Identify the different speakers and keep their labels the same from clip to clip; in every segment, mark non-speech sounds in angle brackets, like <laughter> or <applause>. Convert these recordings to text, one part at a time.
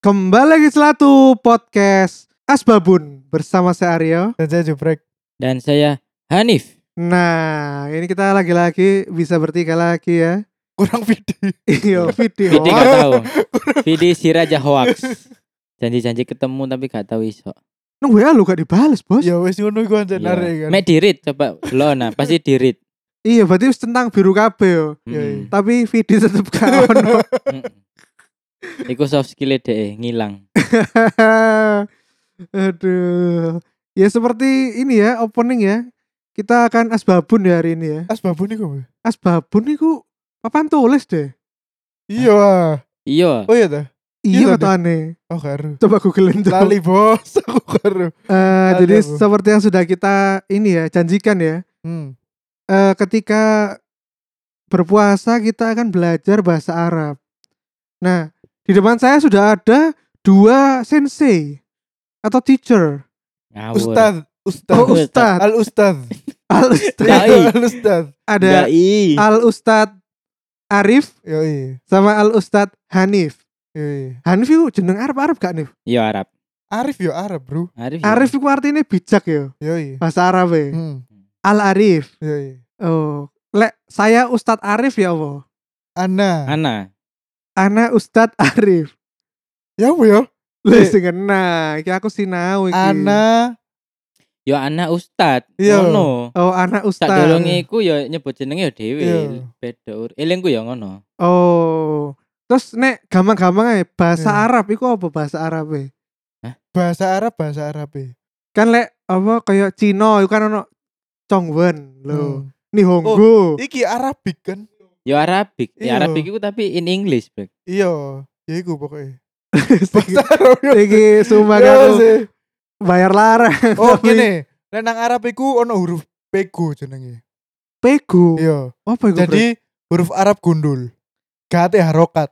Speaker 1: Kembali lagi selatu podcast Asbabun bersama saya Aryo dan saya Jubrek.
Speaker 2: dan saya Hanif.
Speaker 1: Nah, ini kita lagi-lagi bisa bertiga lagi ya.
Speaker 3: kurang video
Speaker 1: Iya, video.
Speaker 2: Vidi nggak
Speaker 3: <laughs>
Speaker 2: tahu. Vidi si raja hoax. Janji-janji ketemu tapi gak tahu iso.
Speaker 1: Nunggu ya lu gak dibales, Bos.
Speaker 3: ya wes ngono iku anjen
Speaker 2: Iya.
Speaker 3: narik kan
Speaker 2: Mek dirit coba lo nah pasti dirit.
Speaker 1: Iya, berarti wis tentang biru kabeh yo.
Speaker 3: Iya, iya.
Speaker 2: Mm-mm.
Speaker 1: Tapi video tetep
Speaker 3: <laughs>
Speaker 1: gak ono.
Speaker 2: Mm-mm. Hmm. Iku soft skill deh ngilang.
Speaker 1: Aduh. Ya seperti ini ya opening ya. Kita akan Asbabun ya hari ini ya.
Speaker 3: asbabu niku Bu.
Speaker 1: Asbabun niku papan tulis deh.
Speaker 3: iya ah.
Speaker 2: Iya.
Speaker 3: oh iya ta
Speaker 1: Iya
Speaker 3: Iya,
Speaker 1: atau aneh?
Speaker 3: oh karo
Speaker 1: Coba googlein tuh.
Speaker 3: lali bos <laughs> aku karo
Speaker 1: Eh,
Speaker 3: Ada,
Speaker 1: jadi
Speaker 3: Bu.
Speaker 1: seperti yang sudah kita ini ya janjikan ya,
Speaker 3: hmm.
Speaker 1: Eh, ketika berpuasa kita akan belajar bahasa Arab. Nah, di depan saya sudah ada dua sensei atau teacher,
Speaker 2: Ngawur.
Speaker 3: ustad ustad
Speaker 1: oh,
Speaker 2: Betul.
Speaker 1: ustad,
Speaker 3: al ustad
Speaker 1: al ustad,
Speaker 2: Dai.
Speaker 3: al ustad
Speaker 1: ada
Speaker 2: Dai.
Speaker 1: al ustad Arif
Speaker 3: yo iya
Speaker 1: sama al ustad Hanif.
Speaker 3: yo iya
Speaker 1: Hanif itu jeneng Arab Arab gak nih?
Speaker 2: Iya Arab.
Speaker 3: Arif yo Arab bro
Speaker 2: Arif. ya?
Speaker 1: Arif itu artinya bijak ya,
Speaker 3: yo iya
Speaker 1: bahasa Arab ya.
Speaker 3: hmm.
Speaker 1: Al Arif.
Speaker 3: yo iya
Speaker 1: Oh, lek saya Ustadz Arif ya Allah.
Speaker 3: Ana
Speaker 2: Ana.
Speaker 1: Ana Ustadz Arif.
Speaker 3: ya bu yo
Speaker 1: Lha
Speaker 3: Eh.
Speaker 1: sing kena, iki aku sinau iki.
Speaker 3: Ana
Speaker 2: Yo ana ustad.
Speaker 3: Iya.
Speaker 2: Ngono.
Speaker 1: Oh, anak
Speaker 2: Tak
Speaker 1: ustaz.
Speaker 2: dolongi iku yo nyebut jenenge yo dhewe.
Speaker 3: Iya.
Speaker 2: Beda ur. Elingku yo ngono.
Speaker 1: Oh. Terus nek gampang-gampang ae bahasa
Speaker 3: Iya.
Speaker 1: Arab iku apa bahasa Arab e?
Speaker 3: bahasa Arab bahasa Arab ya
Speaker 1: Kan lek apa kaya Cina iku kan ono Chongwen lho.
Speaker 3: Hmm.
Speaker 1: Nihongo. <laughs>
Speaker 3: iki Arabik kan
Speaker 2: Yo Arabik. Ya
Speaker 3: Iya.
Speaker 2: Arabik iku tapi in English, Bro.
Speaker 3: iya ya iku pokoknya
Speaker 1: Iki-
Speaker 3: bahasa Arab yo
Speaker 1: Iki sumpah
Speaker 3: Iya,
Speaker 1: aku
Speaker 3: sih.
Speaker 1: bayar larang
Speaker 3: Oh
Speaker 1: Tapi-
Speaker 3: ngene, nek nang Arab iku ono huruf pego jenenge.
Speaker 1: pego.
Speaker 3: Iya.
Speaker 1: Apa iku? Bro?
Speaker 3: Jadi huruf Arab gundul. Gak ate harokat.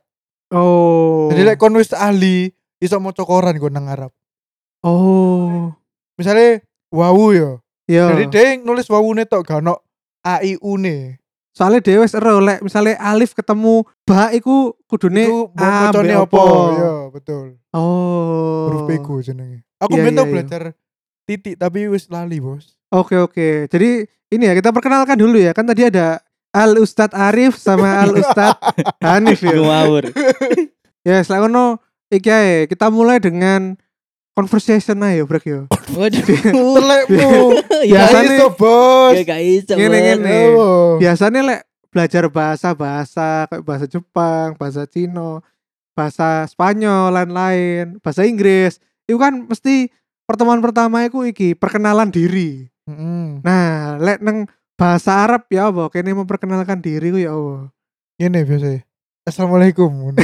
Speaker 1: oh.
Speaker 3: Jadi lek kon wis ahli iso maca koran nggo nang Arab.
Speaker 1: oh. Iya.
Speaker 3: Misalnya wawu yo.
Speaker 1: Yo.
Speaker 3: ya. Jadi dia nulis wawune tok gak ono a i u ne.
Speaker 1: Soalnya dhewe wis ero lek misale Alif ketemu Ba iku kudune
Speaker 3: Iku mbok
Speaker 1: A,
Speaker 3: macane
Speaker 1: mbek
Speaker 3: apa? Iya.
Speaker 1: apa?
Speaker 3: Yo, betul.
Speaker 1: Oh.
Speaker 3: Huruf pego jenenge. Aku
Speaker 1: Iya,
Speaker 3: yeah,
Speaker 1: iya, iya.
Speaker 3: belajar titik tapi wis lali,
Speaker 1: <laughs>
Speaker 3: Bos.
Speaker 1: Oke oke. Jadi ini ya kita perkenalkan dulu ya. Kan tadi ada Al Ustadz Arif sama Al Ustadz Hanif
Speaker 3: iya.
Speaker 1: ya.
Speaker 3: <laughs>
Speaker 2: Ngawur.
Speaker 1: Ya selain ono iki ae, kita mulai dengan conversation aja ya Brek yo.
Speaker 2: Waduh.
Speaker 1: Iya,
Speaker 3: Telekmu. Gak
Speaker 2: Ya
Speaker 1: Biasanya-
Speaker 3: iso, Bos.
Speaker 1: Iya,
Speaker 2: Ya gak iso.
Speaker 1: Ngene,
Speaker 2: Bro.
Speaker 1: ngene.
Speaker 3: Oh.
Speaker 1: Biasanya lek belajar bahasa-bahasa kayak bahasa Jepang, bahasa Cina, bahasa Spanyol lain-lain, bahasa Inggris. Itu kan mesti pertemuan pertama iku iki perkenalan diri.
Speaker 3: Mm-mm.
Speaker 1: Nah, lek neng bahasa Arab ya apa kene memperkenalkan diri ku ya apa.
Speaker 3: Gini biasa
Speaker 2: <laughs>
Speaker 3: Assalamualaikum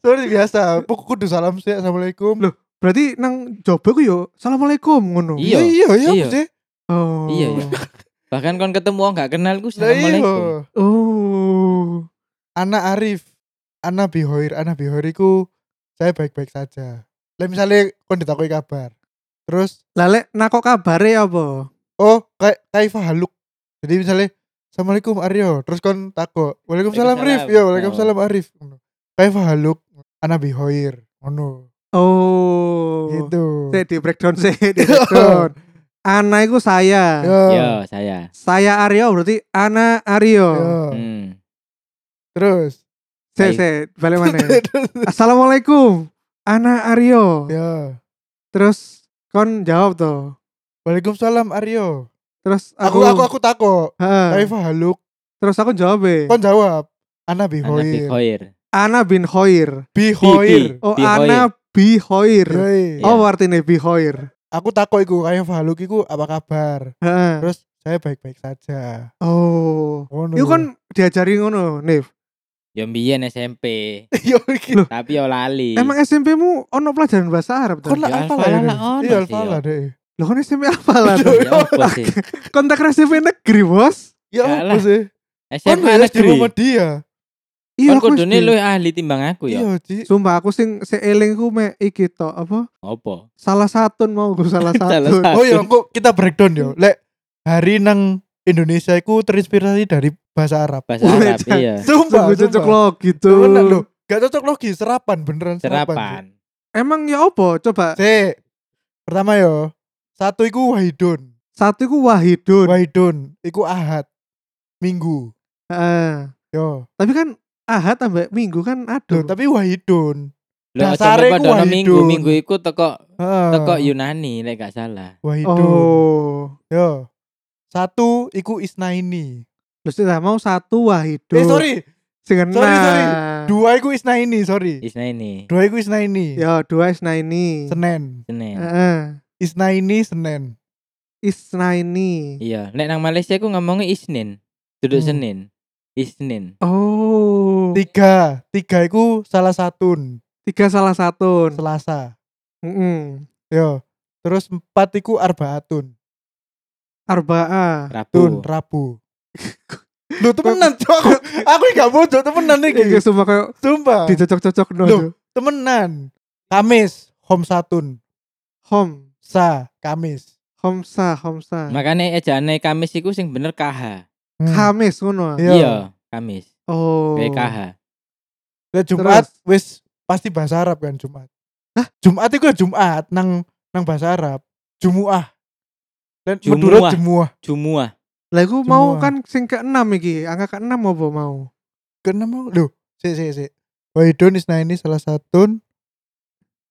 Speaker 3: Sorry biasa Aku kudu salam sih Assalamualaikum
Speaker 1: Loh, Berarti nang jobo ku yo Assalamualaikum ngono.
Speaker 2: Iya.
Speaker 3: Iya iya
Speaker 2: Iya.
Speaker 3: mesti
Speaker 1: Oh.
Speaker 2: Iya, iya. Bahkan kon ketemu orang gak kenal ku
Speaker 3: Lah, Iya Uh,
Speaker 2: Assalamualaikum.
Speaker 1: Oh.
Speaker 3: Ana Arif Ana Bihoir Ana Bihoir iku Saya baik-baik saja Lah misalnya Kon ditakui kabar Terus
Speaker 1: Lale nakok kabare ya apa?
Speaker 3: Oh kayak Kaifa Haluk Jadi misalnya Assalamualaikum Aryo Terus kon takut Waalaikumsalam Arif
Speaker 2: Waalaikumsalam.
Speaker 3: Ya Waalaikumsalam Arif Kaifa Haluk Ana Bihoir Ngono
Speaker 1: Oh.
Speaker 3: Gitu
Speaker 1: Sik, di breakdown sih, di
Speaker 3: <laughs>
Speaker 1: breakdown. Ana iku saya.
Speaker 3: Yo
Speaker 2: Yo, saya.
Speaker 1: Saya Aryo berarti Ana Aryo.
Speaker 3: Yo
Speaker 2: Hmm.
Speaker 3: Terus
Speaker 1: Sik,
Speaker 2: Ayo.
Speaker 1: sik, balik
Speaker 3: <laughs>
Speaker 1: maneh. Assalamualaikum. Ana Aryo.
Speaker 3: ya.
Speaker 1: Terus kon jawab tuh.
Speaker 3: Waalaikumsalam Aryo.
Speaker 1: Terus
Speaker 3: Aku Ah.
Speaker 1: aku
Speaker 3: aku aku takut.
Speaker 1: Heeh.
Speaker 3: Kaifa haluk.
Speaker 1: Terus aku jawab eh.
Speaker 3: Kon jawab. Ana
Speaker 2: Anak Big
Speaker 3: bihoir.
Speaker 2: Hoir.
Speaker 1: Ana bin Hoir.
Speaker 3: Bihoir.
Speaker 1: Oh,
Speaker 2: Bi Hoir.
Speaker 1: Ana bi Hoir.
Speaker 3: Yoi.
Speaker 1: Oh, artinya bi Hoir.
Speaker 3: Aku takut iku Kaifa haluk iku apa kabar?
Speaker 1: Heeh.
Speaker 3: Terus saya baik-baik saja.
Speaker 1: Oh.
Speaker 3: Ngono.
Speaker 1: Iku kan diajari ngono, Nif.
Speaker 2: Yo mbiyen SMP,
Speaker 3: yo iki.
Speaker 2: tapi yo lali.
Speaker 1: Emang
Speaker 2: <laughs>
Speaker 1: SMP mu ono pelajaran bahasa Arab
Speaker 3: Kon
Speaker 1: tuh?
Speaker 3: lah
Speaker 2: Yo,
Speaker 3: alfa
Speaker 2: Alfa
Speaker 3: lah.
Speaker 2: lah, ono
Speaker 3: ini. Iya
Speaker 2: sih,
Speaker 3: alfa
Speaker 2: yo.
Speaker 3: lah deh.
Speaker 1: Lo kan SMP apa lah?
Speaker 3: Yo,
Speaker 1: tuh?
Speaker 2: Ya apa sih?
Speaker 1: Kontak SMP negeri bos.
Speaker 3: Ya
Speaker 2: Gak
Speaker 3: apa
Speaker 2: lah.
Speaker 3: sih? Kon
Speaker 2: SMA
Speaker 3: wes di
Speaker 2: negeri.
Speaker 3: rumah dia.
Speaker 2: Kon
Speaker 1: Iya, aku
Speaker 2: kudune
Speaker 1: SD.
Speaker 2: luwih ahli timbang aku yo.
Speaker 3: Iya, Ci.
Speaker 1: Sumpah aku sing seeling ku me iki tok apa?
Speaker 2: Opo?
Speaker 1: Salah satu mau gue salah
Speaker 2: Salah
Speaker 1: satu.
Speaker 2: satu.
Speaker 3: Oh iya, kok kita breakdown yo. Lek hari nang Indonesia iku terinspirasi dari bahasa Arab.
Speaker 2: Bahasa Arab
Speaker 1: Wah,
Speaker 2: iya.
Speaker 3: Sumpah,
Speaker 1: Sungguh cocok
Speaker 3: sumpah.
Speaker 1: lo gitu.
Speaker 3: Bener loh. Gak cocok logi serapan beneran serapan.
Speaker 2: serapan.
Speaker 1: Emang ya opo coba
Speaker 3: C. Pertama yo. Satu iku Wahidun.
Speaker 1: satu ku Wahidun.
Speaker 3: Wahidun iku Ahad. Minggu.
Speaker 1: Heeh.
Speaker 3: Yo.
Speaker 1: tapi kan Ahad tambah Minggu kan aduh.
Speaker 3: Duh, tapi Wahidun.
Speaker 2: Lah
Speaker 3: Dasare ku Ah.
Speaker 2: coba padha
Speaker 3: Wahidun.
Speaker 2: minggu minggu iku teko
Speaker 3: Heeh.
Speaker 2: teko Yunani lek gak salah.
Speaker 3: Wahidun.
Speaker 1: Oh.
Speaker 3: Yo. Satu iku Isnaini.
Speaker 1: Terus kita mau satu Wahidun.
Speaker 3: Eh sorry,
Speaker 1: Sing
Speaker 3: sorry, sorry.
Speaker 1: enak.
Speaker 3: dua iku Isnaini,
Speaker 2: Iya.
Speaker 3: sorry.
Speaker 2: Isnaini.
Speaker 3: Dua iku Isnaini.
Speaker 1: Ya dua Isnaini.
Speaker 3: Senin.
Speaker 2: Senin.
Speaker 1: Heeh.
Speaker 3: Isnaini Senin.
Speaker 1: Isnaini.
Speaker 2: Iya, nek nang Malaysia aku ngomongnya Isnin. Duduk
Speaker 3: Hmm.
Speaker 2: Senin. Isnin.
Speaker 1: Oh.
Speaker 3: Tiga, tiga iku salah satun
Speaker 1: Tiga salah satu.
Speaker 3: Selasa.
Speaker 1: Mm-mm.
Speaker 3: Yo. Terus empat iku Arbaatun.
Speaker 1: Arba'a.
Speaker 3: Tun
Speaker 2: Rabu.
Speaker 3: Rabu. Lu temenan cok. Aku, aku gak bodoh temenan
Speaker 1: Iki
Speaker 3: iki.
Speaker 1: semua kayak
Speaker 3: Sumpah.
Speaker 1: dicocok-cocok no.
Speaker 3: Ah. Loh. Temenan. Kamis Hom Satun.
Speaker 1: Hom,
Speaker 3: Sa Kamis.
Speaker 1: Homsa, Homsa.
Speaker 2: Makanya ejaane Kamis iku sing bener KH.
Speaker 3: Hmm.
Speaker 1: Kamis ngono. ah?
Speaker 3: Iya.
Speaker 2: Iya, Kamis.
Speaker 1: Oh.
Speaker 2: PKH.
Speaker 3: Lah Jumat
Speaker 1: Terus?
Speaker 3: wis pasti bahasa Arab kan Jumat. Hah? Jumat iku ya Jumat nang nang bahasa Arab. Jumuah. Dan
Speaker 2: Jumuah.
Speaker 3: Madura Jumuah.
Speaker 2: Jumuah.
Speaker 1: Lah iku mau
Speaker 3: Semua.
Speaker 1: kan sing ke-6 iki, angka ke-6 apa mau?
Speaker 3: Kena mau. Loh, sik sik sik. Waidun Isnaini salah satun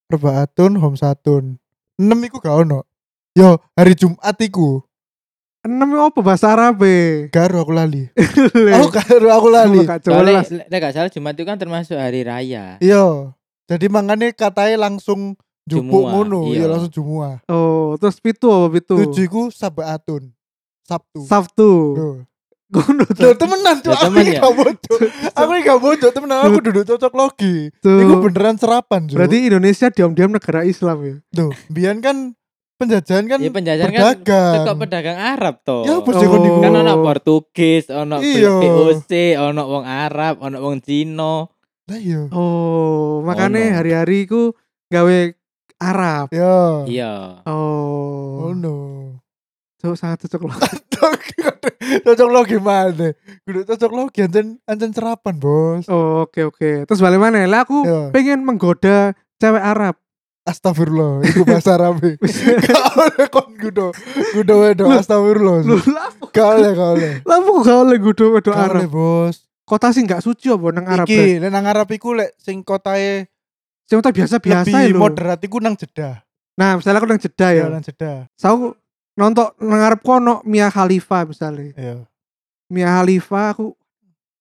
Speaker 3: Arbaatun Homsatun. Enam iku gak ono. Yo, hari Jumat iku
Speaker 1: 6 iku ya apa bahasa Arab
Speaker 3: <laughs>
Speaker 1: e?
Speaker 3: garo aku lali. Aku garo aku lali.
Speaker 1: Gak
Speaker 2: Soalnya
Speaker 1: jelas.
Speaker 2: lek gak salah Jumat itu kan termasuk hari raya.
Speaker 3: Yo. Iya. Jadi makanya katanya langsung jupuk
Speaker 2: Jumuah,
Speaker 3: ngono,
Speaker 2: iya.
Speaker 3: ya langsung Jumuah.
Speaker 1: Oh, terus pitu apa pitu?
Speaker 3: Tujuh iku Sabaatun. Sabtu.
Speaker 1: Sabtu.
Speaker 3: Loh.
Speaker 1: Ngono
Speaker 3: Loh
Speaker 1: tuh.
Speaker 3: temenan tuh
Speaker 2: Loh,
Speaker 3: aku
Speaker 2: temen
Speaker 3: ini
Speaker 2: ya?
Speaker 3: gak bodoh
Speaker 2: <laughs>
Speaker 3: Aku ini gak bodoh temenan aku duduk cocok logi Iku beneran serapan cuy
Speaker 1: Berarti Indonesia diam-diam negara Islam ya.
Speaker 3: Tuh Bian kan penjajahan kan
Speaker 2: Ya penjajahan kan teko
Speaker 3: berdagang
Speaker 2: pedagang Arab toh.
Speaker 3: Ya berjago
Speaker 1: Oh.
Speaker 2: kan ono Portugis, ono
Speaker 3: Iya.
Speaker 2: VOC, ono wong Arab, ono wong Cina.
Speaker 3: Lah iya
Speaker 1: Oh, makanya
Speaker 2: no.
Speaker 1: hari-hari iku gawe Arab.
Speaker 3: Ya
Speaker 2: Iya.
Speaker 1: Oh.
Speaker 3: Oh no
Speaker 1: Cuk, sangat cocok loh.
Speaker 3: <laughs>
Speaker 1: <laughs>
Speaker 3: Cocok logi mana Duduk cocok logi Ancan, ancan serapan bos
Speaker 1: Oh, Oke oke. Terus balik mana? Lah aku
Speaker 3: Ya.
Speaker 1: pengen menggoda cewek Arab.
Speaker 3: Astagfirullah Iku bahasa e. Arabi <laughs> Gak oleh kon gudo Gudo wedo
Speaker 1: Loh.
Speaker 3: Astagfirullah
Speaker 1: Lu lah,
Speaker 3: Gak oleh gak
Speaker 1: <laughs>
Speaker 3: oleh
Speaker 1: lah aku gak oleh gudo wedo
Speaker 3: Gak
Speaker 1: Arab.
Speaker 3: oleh bos
Speaker 1: Kota sih gak suci apa nang Arab. Iki.
Speaker 3: Iki, lek nang Arab iku lek sing kotae
Speaker 1: Cuma biasa-biasa ya
Speaker 3: lebih
Speaker 1: lho.
Speaker 3: moderat iku nang Jeddah.
Speaker 1: Nah, misalnya aku nang Jeddah ya.
Speaker 3: Ya nang Jeddah.
Speaker 1: Saya nonton nang Arab kono Mia Khalifa misalnya.
Speaker 3: Ya.
Speaker 1: Mia Khalifa aku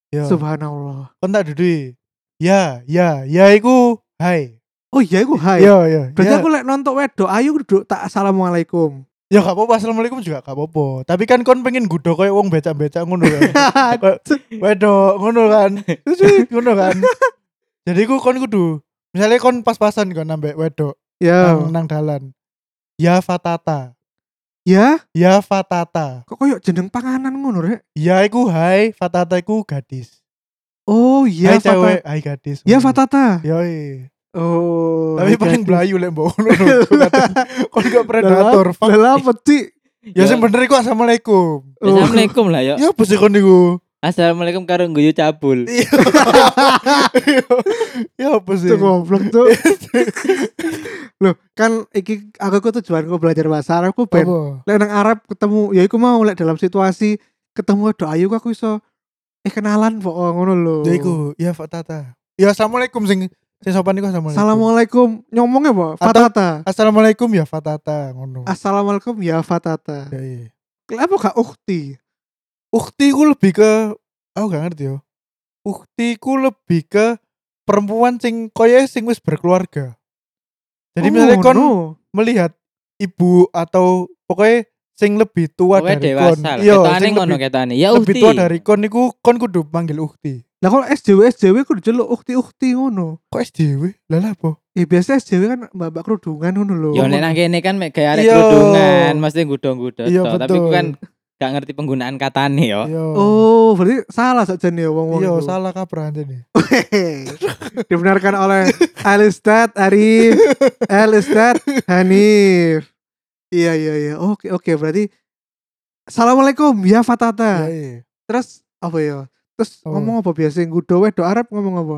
Speaker 3: Ya.
Speaker 1: subhanallah.
Speaker 3: Kon tak dudu. Ya, ya, ya iku hai.
Speaker 1: Oh iya aku hai.
Speaker 3: Ya, ya.
Speaker 1: Berarti
Speaker 3: ya.
Speaker 1: aku lek nonton wedok ayu duduk tak <laughs> assalamualaikum.
Speaker 3: ya gak apa-apa Assalamualaikum juga gak apa-apa. Tapi kan kon pengen gudo koyo wong becak-becak
Speaker 1: <laughs>
Speaker 3: ngono kan. Kayak, Wedok ngono kan.
Speaker 1: Iya.
Speaker 3: Sweet, ngono kan.
Speaker 1: <laughs>
Speaker 3: Jadi iku kon kudu misalnya kon pas-pasan kon nambah wedok
Speaker 1: ya.
Speaker 3: nang, nang dalan. Ya Fatata.
Speaker 1: Ya,
Speaker 3: Ya Fatata.
Speaker 1: kok koyo jeneng panganan ngono rek.
Speaker 3: Ya iku hai, Fatata iku gadis.
Speaker 1: Oh iya
Speaker 3: hai
Speaker 1: Fatata.
Speaker 3: cewek, hai gadis.
Speaker 1: Ya Fatata.
Speaker 3: Yoi.
Speaker 1: Oh.
Speaker 3: Tapi paling belayu lek mbok ngono
Speaker 1: <laughs>
Speaker 3: lho. Kon gak predator. fuck.
Speaker 1: Lah apa
Speaker 3: <laughs>
Speaker 1: Ci?
Speaker 3: Ya sing bener iku
Speaker 1: Oh.
Speaker 3: assalamualaikum.
Speaker 2: Ya, Assalamualaikum lah
Speaker 3: Oh.
Speaker 2: yo.
Speaker 3: Ya Iya, besi kon niku.
Speaker 2: Assalamualaikum karo guyu cabul.
Speaker 3: Ya apa sih?
Speaker 1: Itu goblok
Speaker 3: <laughs>
Speaker 1: tuh. Loh, kan iki aku ku tujuanku belajar bahasa Arab ku ben
Speaker 3: Apa?
Speaker 1: lek nang Arab ketemu ya iku mau lek dalam situasi ketemu ada ayu ku aku iso eh kenalan kok ngono lho.
Speaker 3: Ya iku, ya Fatata. Ya assalamualaikum sing sing sopan niku assalamualaikum.
Speaker 1: Assalamualaikum nyomongnya apa?
Speaker 3: Atau-
Speaker 1: Fatata.
Speaker 3: Assalamualaikum ya Fatata ngono.
Speaker 1: Assalamualaikum ya Fatata.
Speaker 3: Ya, iya.
Speaker 1: Kenapa gak ukti?
Speaker 3: Ukti ku lebih ke aku gak ngerti yo. Ukti ku lebih ke perempuan sing koyo sing wis berkeluarga.
Speaker 1: Oh,
Speaker 3: Jadi misalnya kon
Speaker 1: no.
Speaker 3: melihat ibu atau pokoknya sing lebih tua
Speaker 2: Kowe
Speaker 3: dari kon.
Speaker 2: dewasa.
Speaker 3: Iya,
Speaker 2: Ketane
Speaker 3: sing
Speaker 2: ngono
Speaker 3: lebih,
Speaker 2: ketane. Ya
Speaker 3: lebih
Speaker 2: Uhti.
Speaker 3: tua dari kon niku kon kudu manggil ukti.
Speaker 1: Lah kalau SJW SJW kudu jeluk ukti-ukti ngono.
Speaker 3: Kok SDW? Lah lah apa?
Speaker 1: Ya biasa SJW kan mbak-mbak kerudungan ngono lho.
Speaker 2: Yo nek nang kene kan mek gawe arek
Speaker 3: Iya.
Speaker 2: kerudungan, mesti ngudong-ngudong.
Speaker 3: Iya,
Speaker 2: toh. Tapi ku
Speaker 3: betul.
Speaker 2: kan gak ngerti penggunaan katane yo.
Speaker 3: Iya.
Speaker 1: Oh, berarti salah saja nih wong-wong.
Speaker 3: Iya,
Speaker 1: itu.
Speaker 3: salah kaprah nih.
Speaker 1: Hehehe. <laughs> Dibenarkan oleh Alistad
Speaker 3: <laughs>
Speaker 1: Arif, Alistad Hanif. Iya iya iya. Oke oke berarti Assalamualaikum ya
Speaker 3: Ya,
Speaker 1: Fatata.
Speaker 3: iya.
Speaker 1: Terus apa ya? Terus
Speaker 3: Apa?
Speaker 1: ngomong apa biasa ngudo wedok Arab ngomong apa?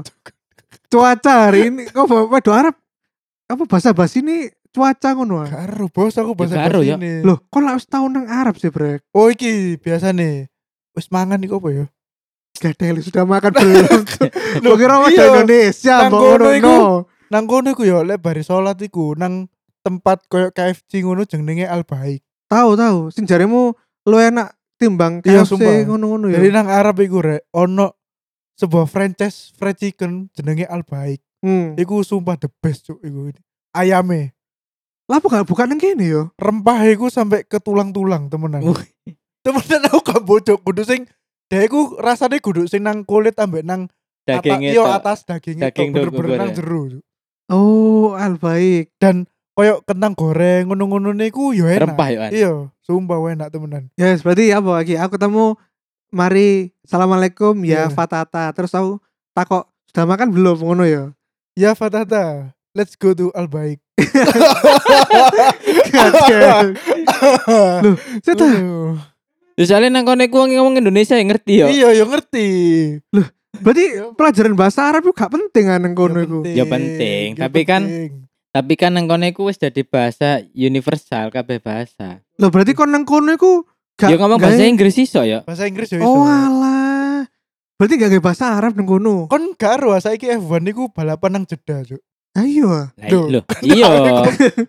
Speaker 1: cuaca hari ini kok bawa waduh Arab apa bahasa basi ini cuaca ngono ah.
Speaker 3: Karo bos aku bahasa
Speaker 2: Ya, karo, ya.
Speaker 3: ini.
Speaker 1: Loh, kok lah wis tahun nang Arab sih, Brek?
Speaker 3: Oh iki biasa nih. Wis mangan iku apa ya?
Speaker 1: Gadel sudah
Speaker 3: <laughs>
Speaker 1: makan belum? Loh, kira
Speaker 3: Iya.
Speaker 1: wadah Indonesia
Speaker 3: Nang
Speaker 1: mbok
Speaker 3: kono
Speaker 1: ngono
Speaker 3: iku.
Speaker 1: no.
Speaker 3: Nang kono iku ya lek bari salat iku nang tempat koyo KFC ngono jenenge Al Baik.
Speaker 1: Tahu tahu, sing jaremu lu enak timbang
Speaker 3: Iya,
Speaker 1: KFC
Speaker 3: sumpah.
Speaker 1: ngono-ngono ya.
Speaker 3: Jadi nang Arab iku rek ono sebuah franchise fried chicken jenenge Al Baik.
Speaker 1: Hmm.
Speaker 3: Iku sumpah the best cuk iku. Ayame
Speaker 1: Lah apa gak buka nang kene ya? yo?
Speaker 3: rempah iku sampai ke tulang-tulang temenan.
Speaker 2: Wih.
Speaker 3: Temenan aku gak bocok kudu sing Dia iku rasanya kudu sing nang kulit ambek nang atas,
Speaker 2: Daging itu.
Speaker 3: iya, atas dagingnya
Speaker 2: Daging
Speaker 3: daging
Speaker 2: ya.
Speaker 3: bener-bener
Speaker 2: dogogore.
Speaker 3: nang jero cuk.
Speaker 1: Oh, albaik.
Speaker 3: dan koyok kentang goreng ngono-ngono niku yo enak.
Speaker 2: Rempah ya.
Speaker 3: Iya, sumpah enak temenan.
Speaker 1: Ya, yes, berarti apa lagi? Aku ketemu mari assalamualaikum ya
Speaker 3: Iya.
Speaker 1: Fatata. Terus aku takok sudah makan belum ngono ya?
Speaker 3: Ya Fatata, let's go to Albaik.
Speaker 1: Gadel. Loh, sudah
Speaker 3: Aduh.
Speaker 2: Terus soalnya nang kono iku wong ngomong Indonesia ya ngerti ya.
Speaker 3: Iya, yo ngerti. Iya.
Speaker 1: Berarti pelajaran bahasa Arab itu gak penting kan nang kono iku.
Speaker 2: Ya penting, tapi kan- Tapi kan nang kono iku wis dadi bahasa universal kabeh bahasa.
Speaker 1: Loh, berarti kon nang kono iku gak
Speaker 2: Ya ngomong
Speaker 1: gak-
Speaker 2: bahasa Inggris iso ya.
Speaker 3: bahasa Inggris yo iso.
Speaker 1: Oh, alah. Berarti gak kayak bahasa Arab nang kono.
Speaker 3: Kon gak ero ah, saiki F1 niku balapan nang jeda, Cuk.
Speaker 1: Ayo. ah.
Speaker 2: Lah
Speaker 3: Duh. <laughs> ya,
Speaker 2: lho, iya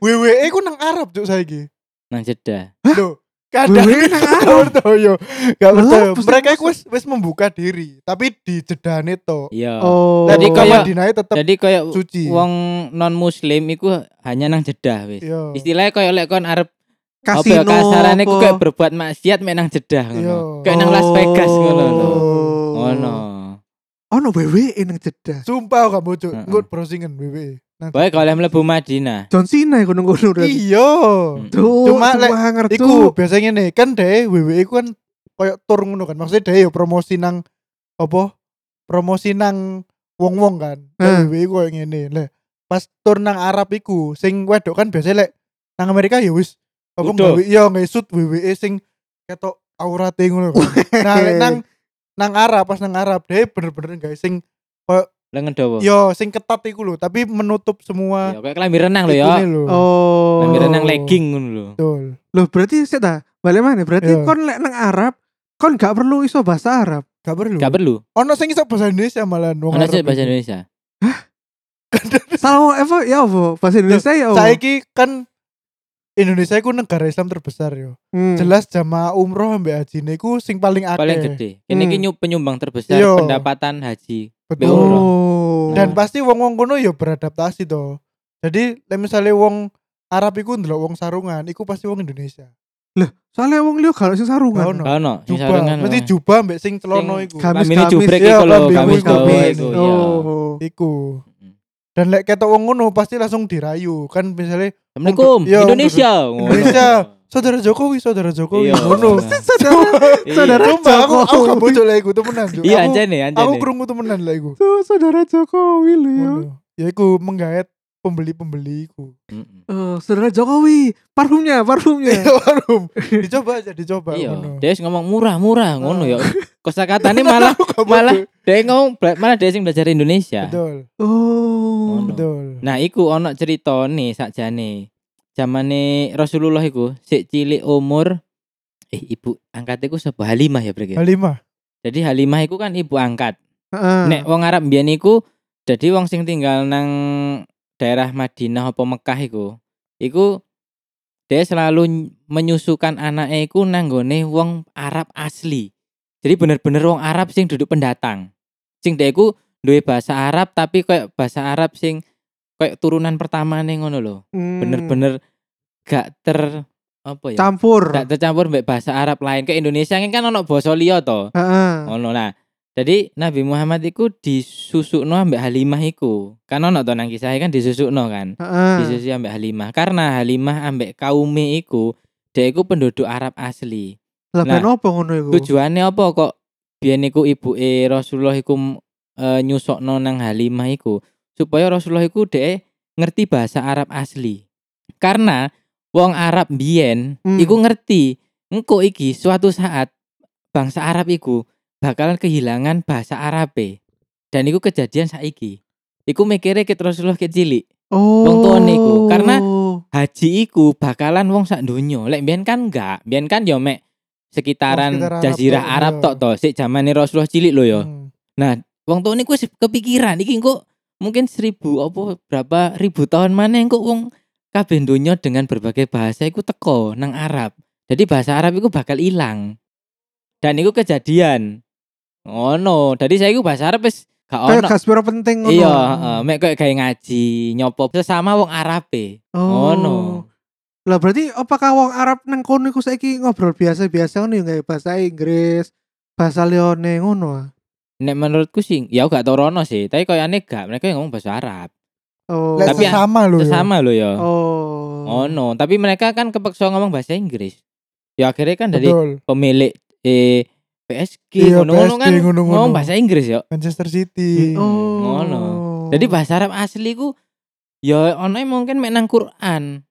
Speaker 3: WWE E ku nang Arab, Cuk saiki.
Speaker 2: nang jeda.
Speaker 3: Loh, kadang
Speaker 1: WWE nang
Speaker 2: <laughs>
Speaker 1: Arab?
Speaker 3: percaya. <laughs> Gak
Speaker 1: E? Lah,
Speaker 3: percaya.
Speaker 1: pasti-
Speaker 3: Mereka iku wis wis membuka diri, tapi di jedane to.
Speaker 2: Iya.
Speaker 1: Oh.
Speaker 3: Jadi
Speaker 2: Jadi
Speaker 3: kamar
Speaker 2: kayak-
Speaker 3: dinae tetep
Speaker 2: Jadi koyo
Speaker 3: suci.
Speaker 2: wong non muslim iku hanya nang jeda wis.
Speaker 3: Iya.
Speaker 2: Istilahnya koyo lek kon arep apa
Speaker 1: kasino
Speaker 2: ya kasarane
Speaker 1: apa?
Speaker 2: ku kayak berbuat maksiat mek nang jeda
Speaker 3: Iya. Oh.
Speaker 2: ngono. Kayak nang Las Vegas ngono lho. Ngono.
Speaker 1: Ono WWE nang jeda.
Speaker 3: Sumpah aku gak bocok.
Speaker 2: Heeh.
Speaker 3: Engko browsingan E. WWE. Nang-
Speaker 2: Wae kalau mlebu Madinah.
Speaker 1: John Cena iku nang kono. Ren.
Speaker 3: Iya.
Speaker 1: Duh,
Speaker 3: Cuma lek
Speaker 1: semangat,
Speaker 3: Iku
Speaker 1: Cuk.
Speaker 3: biasanya nih kan deh WWE ku kan koyok tour ngono kan. Maksudnya deh ya promosi nang apa? Promosi nang wong-wong kan.
Speaker 1: Heeh.
Speaker 3: Nah, WWE ku koyo ngene. Lah pas tour nang Arab iku sing wedok kan biasanya lek nang Amerika ya wis apa
Speaker 2: Udah.
Speaker 3: gawe ya ngesut WWE sing ketok aurate ngono kan. nah, lek nang nang Arab pas nang Arab deh bener-bener guys sing
Speaker 2: Lengen dawa.
Speaker 3: yo sing ketat iku lho, tapi menutup semua
Speaker 2: Ya kayak kelambi renang lho ya.
Speaker 3: ikune lho.
Speaker 1: Oh.
Speaker 2: Kelambi
Speaker 3: Lampiran
Speaker 2: renang legging ngono lho.
Speaker 3: Betul.
Speaker 1: Loh, berarti sik ta? Balik mana? Berarti
Speaker 3: Iya.
Speaker 1: kon lek nang Arab, kon gak perlu iso bahasa Arab.
Speaker 3: Gak perlu.
Speaker 2: Gak perlu.
Speaker 3: Ono sing iso bahasa Indonesia malah wong
Speaker 2: Ono
Speaker 3: Arab
Speaker 2: sih bahasa
Speaker 3: itu.
Speaker 2: Indonesia.
Speaker 1: Salah apa ya apa? Bahasa Indonesia ya apa?
Speaker 3: <laughs> Saiki kan Indonesia iku negara Islam terbesar yo.
Speaker 1: Hmm.
Speaker 3: Jelas jamaah umroh ambek haji niku sing paling akeh.
Speaker 2: Paling gede. Ini
Speaker 1: Hmm.
Speaker 2: ki nyu- penyumbang terbesar
Speaker 3: Iya.
Speaker 2: pendapatan haji.
Speaker 3: Betul.
Speaker 2: Umroh.
Speaker 1: Oh.
Speaker 3: Dan pasti wong-wong kono yo beradaptasi to. Jadi lek misale wong Arab iku ndelok wong sarungan, iku pasti wong Indonesia.
Speaker 1: soalnya wong liyo gak sing sarungan.
Speaker 3: Gak ono.
Speaker 2: Ono sing
Speaker 3: Jubah,
Speaker 2: sarungan.
Speaker 3: mesti jubah ambek sing celono
Speaker 2: Sing
Speaker 3: iku.
Speaker 1: Gam-
Speaker 2: Kami ini
Speaker 1: Gamis-gamis.
Speaker 2: jubrek
Speaker 3: Iya,
Speaker 2: iku lho,
Speaker 3: kambing
Speaker 2: gamis
Speaker 3: gamis.
Speaker 2: dawa iku. Iya.
Speaker 1: Oh.
Speaker 3: Iku.
Speaker 2: Mm.
Speaker 3: Dan lek ketok wong ngono pasti langsung dirayu. Kan misalnya
Speaker 2: Assalamualaikum
Speaker 3: Iya,
Speaker 2: Indonesia. Ngono.
Speaker 3: Indonesia. saudara Jokowi, saudara Jokowi
Speaker 2: Iya.
Speaker 3: ngono.
Speaker 2: Pasti Iya.
Speaker 1: Saudara
Speaker 3: Sumpah, aku aku
Speaker 1: Jokowi.
Speaker 3: gak bocor lah iku temenan. Cuk.
Speaker 2: Iya
Speaker 3: Aku-
Speaker 2: anjane
Speaker 3: Aku
Speaker 2: anjane.
Speaker 3: kerungu temenan lah iku.
Speaker 1: Tuh, saudara Jokowi liyo.
Speaker 3: Ngono. Ya iku menggaet pembeli-pembeli
Speaker 2: <laughs>
Speaker 3: iku.
Speaker 2: Mm-mm.
Speaker 1: Eh, saudara Jokowi, parfumnya, parfumnya.
Speaker 3: Iya, Warum. Dicoba aja dicoba
Speaker 2: Iya.
Speaker 3: ngono. <laughs>
Speaker 2: Dia ngomong murah-murah ngono ya. Kosakatane
Speaker 3: Temenan
Speaker 2: malah
Speaker 3: aku gak bodoh.
Speaker 2: malah Ya. dia ngomong bela- malah dia sing belajar Indonesia.
Speaker 3: betul.
Speaker 1: Oh.
Speaker 2: Ngono.
Speaker 3: Betul.
Speaker 2: Nah, iku ono cerita nih sakjane. Zamane Rasulullah iku sik cilik umur eh ibu angkat iku sapa Halimah ya Brek. ya?
Speaker 3: Halimah.
Speaker 2: Jadi Halimah iku kan ibu angkat.
Speaker 1: Heeh.
Speaker 2: Nek wong Arab mbiyen iku jadi wong sing tinggal nang daerah Madinah apa Mekah iku. Iku dia selalu ny- menyusukan anaknya iku nanggone wong Arab asli. Jadi bener-bener wong Arab sing duduk pendatang. Sing dia iku duwe bahasa Arab tapi kayak bahasa Arab sing kayak turunan pertama nih ngono loh.
Speaker 1: Hmm.
Speaker 2: Bener-bener gak ter apa ya?
Speaker 1: campur.
Speaker 2: Gak tercampur mbek bahasa Arab lain. Ke Indonesia ini kan ono basa liya to.
Speaker 1: Heeh.
Speaker 2: Ono nah. Jadi Nabi Muhammad iku disusukno ambek Halimah iku. Kan ono to nang kisah e kan disusukno kan.
Speaker 1: Heeh.
Speaker 2: Disusui ambek Halimah karena Halimah ambek kaume iku dia iku penduduk Arab asli.
Speaker 1: Lah ben
Speaker 2: Nah,
Speaker 1: opo ngono iku?
Speaker 2: Tujuannya apa kok biyen iku ibuke Rasulullah iku e, nyusokno nang Halimah iku supaya Rasulullah iku dhek ngerti bahasa Arab asli. Karena wong Arab biyen
Speaker 1: Hmm.
Speaker 2: iku ngerti engko iki suatu saat bangsa Arab iku bakalan kehilangan bahasa Arabe. Dan iku kejadian saiki. iku mikirnya ke Rasulullah ke cilik.
Speaker 1: Oh.
Speaker 2: Wong tuane iku. Karena- Haji iku bakalan wong sak donya. Lek mbiyen kan enggak. Mbiyen kan yo mek sekitaran
Speaker 3: Wong sekitar Arab
Speaker 2: jazirah
Speaker 3: tok,
Speaker 2: Arab
Speaker 3: iya.
Speaker 2: tok to, sik zamane Rasulullah cilik lho yo.
Speaker 3: Hmm.
Speaker 2: Wong tuane ku wis kepikiran iki engko mungkin seribu apa berapa ribu tahun mana engko wong kabeh donya dengan berbagai bahasa iku teko nang Arab. Jadi bahasa Arab iku bakal ilang. Dan iku kejadian. Oh no, jadi saya iku bahasa Arab wis gak
Speaker 1: Kayak
Speaker 2: ono.
Speaker 1: gas piro penting ngono.
Speaker 2: Iya, heeh, mek koyo kayak ngaji, nyopo sesama wong Arabe.
Speaker 1: Oh.
Speaker 2: Ngono.
Speaker 1: Lah berarti apakah wong Arab nang kono iku saiki ngobrol biasa-biasa ngono ya nggak bahasa Inggris, bahasa Leone ngono. ah?
Speaker 2: Nek menurutku sih, ya aku gak tau rono sih, tapi kayaknya gak, mereka yang ngomong bahasa Arab.
Speaker 1: Oh.
Speaker 3: Lah,
Speaker 2: Tapi-
Speaker 3: sesama loh. ya.
Speaker 2: Sesama loh ya.
Speaker 1: Oh.
Speaker 2: Oh no, tapi mereka kan kepeksa ngomong bahasa Inggris. Ya akhirnya kan dari
Speaker 3: Betul.
Speaker 2: pemilik eh, PSG
Speaker 3: Iya,
Speaker 2: ngono-ngono
Speaker 3: PSG,
Speaker 2: kan
Speaker 3: ngono-ngono. Oh.
Speaker 2: ngomong bahasa Inggris ya.
Speaker 3: Manchester City.
Speaker 1: Oh.
Speaker 2: Hmm. ngono. Jadi bahasa Arab asli ku ya ono e mungkin mek nang Quran.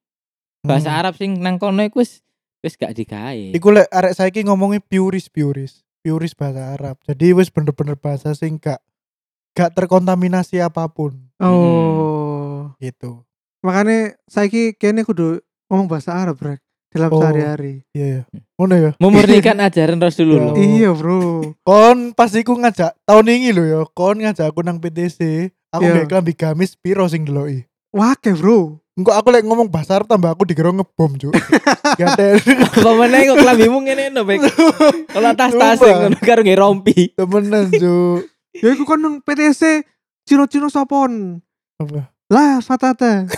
Speaker 2: Bahasa
Speaker 3: Hmm.
Speaker 2: Arab sing nang kono iku wis wis gak digawe.
Speaker 3: Iku lek arek saiki ngomongi puris puris, puris bahasa Arab. Jadi wis bener-bener bahasa sing gak gak terkontaminasi apapun
Speaker 2: Hmm.
Speaker 1: Oh.
Speaker 3: gitu.
Speaker 1: Makanya saiki kene kudu ngomong bahasa Arab, Brek. Dalam
Speaker 3: Oh.
Speaker 1: sehari-hari.
Speaker 3: Iya ya.
Speaker 2: Hmm.
Speaker 3: Ngono ya.
Speaker 2: Memurnikan
Speaker 3: <laughs>
Speaker 2: ajaran Rasulullah.
Speaker 3: Oh.
Speaker 1: Iya, Bro.
Speaker 3: Kon pas iku ngajak tahun ini lho ya, kon ngajak aku nang PTC, aku
Speaker 1: Iya.
Speaker 3: yeah. klambi gamis piro sing deloki.
Speaker 1: Wake,
Speaker 3: <laughs>
Speaker 1: Bro.
Speaker 3: Engko aku lek ngomong bahasa Arab tambah aku digero ngebom, Cuk. <laughs>
Speaker 1: Ya,
Speaker 3: Gatel.
Speaker 2: Apa meneh kok klambimu ngene no Bek. Kalau tas-tas
Speaker 3: Sumpah.
Speaker 2: ngono karo
Speaker 3: <laughs>
Speaker 2: nggih rompi.
Speaker 3: Temenan, Cuk.
Speaker 1: Ya iku kan nang PTC Cino-cino sopon.
Speaker 3: Apa?
Speaker 1: Lah, fatata.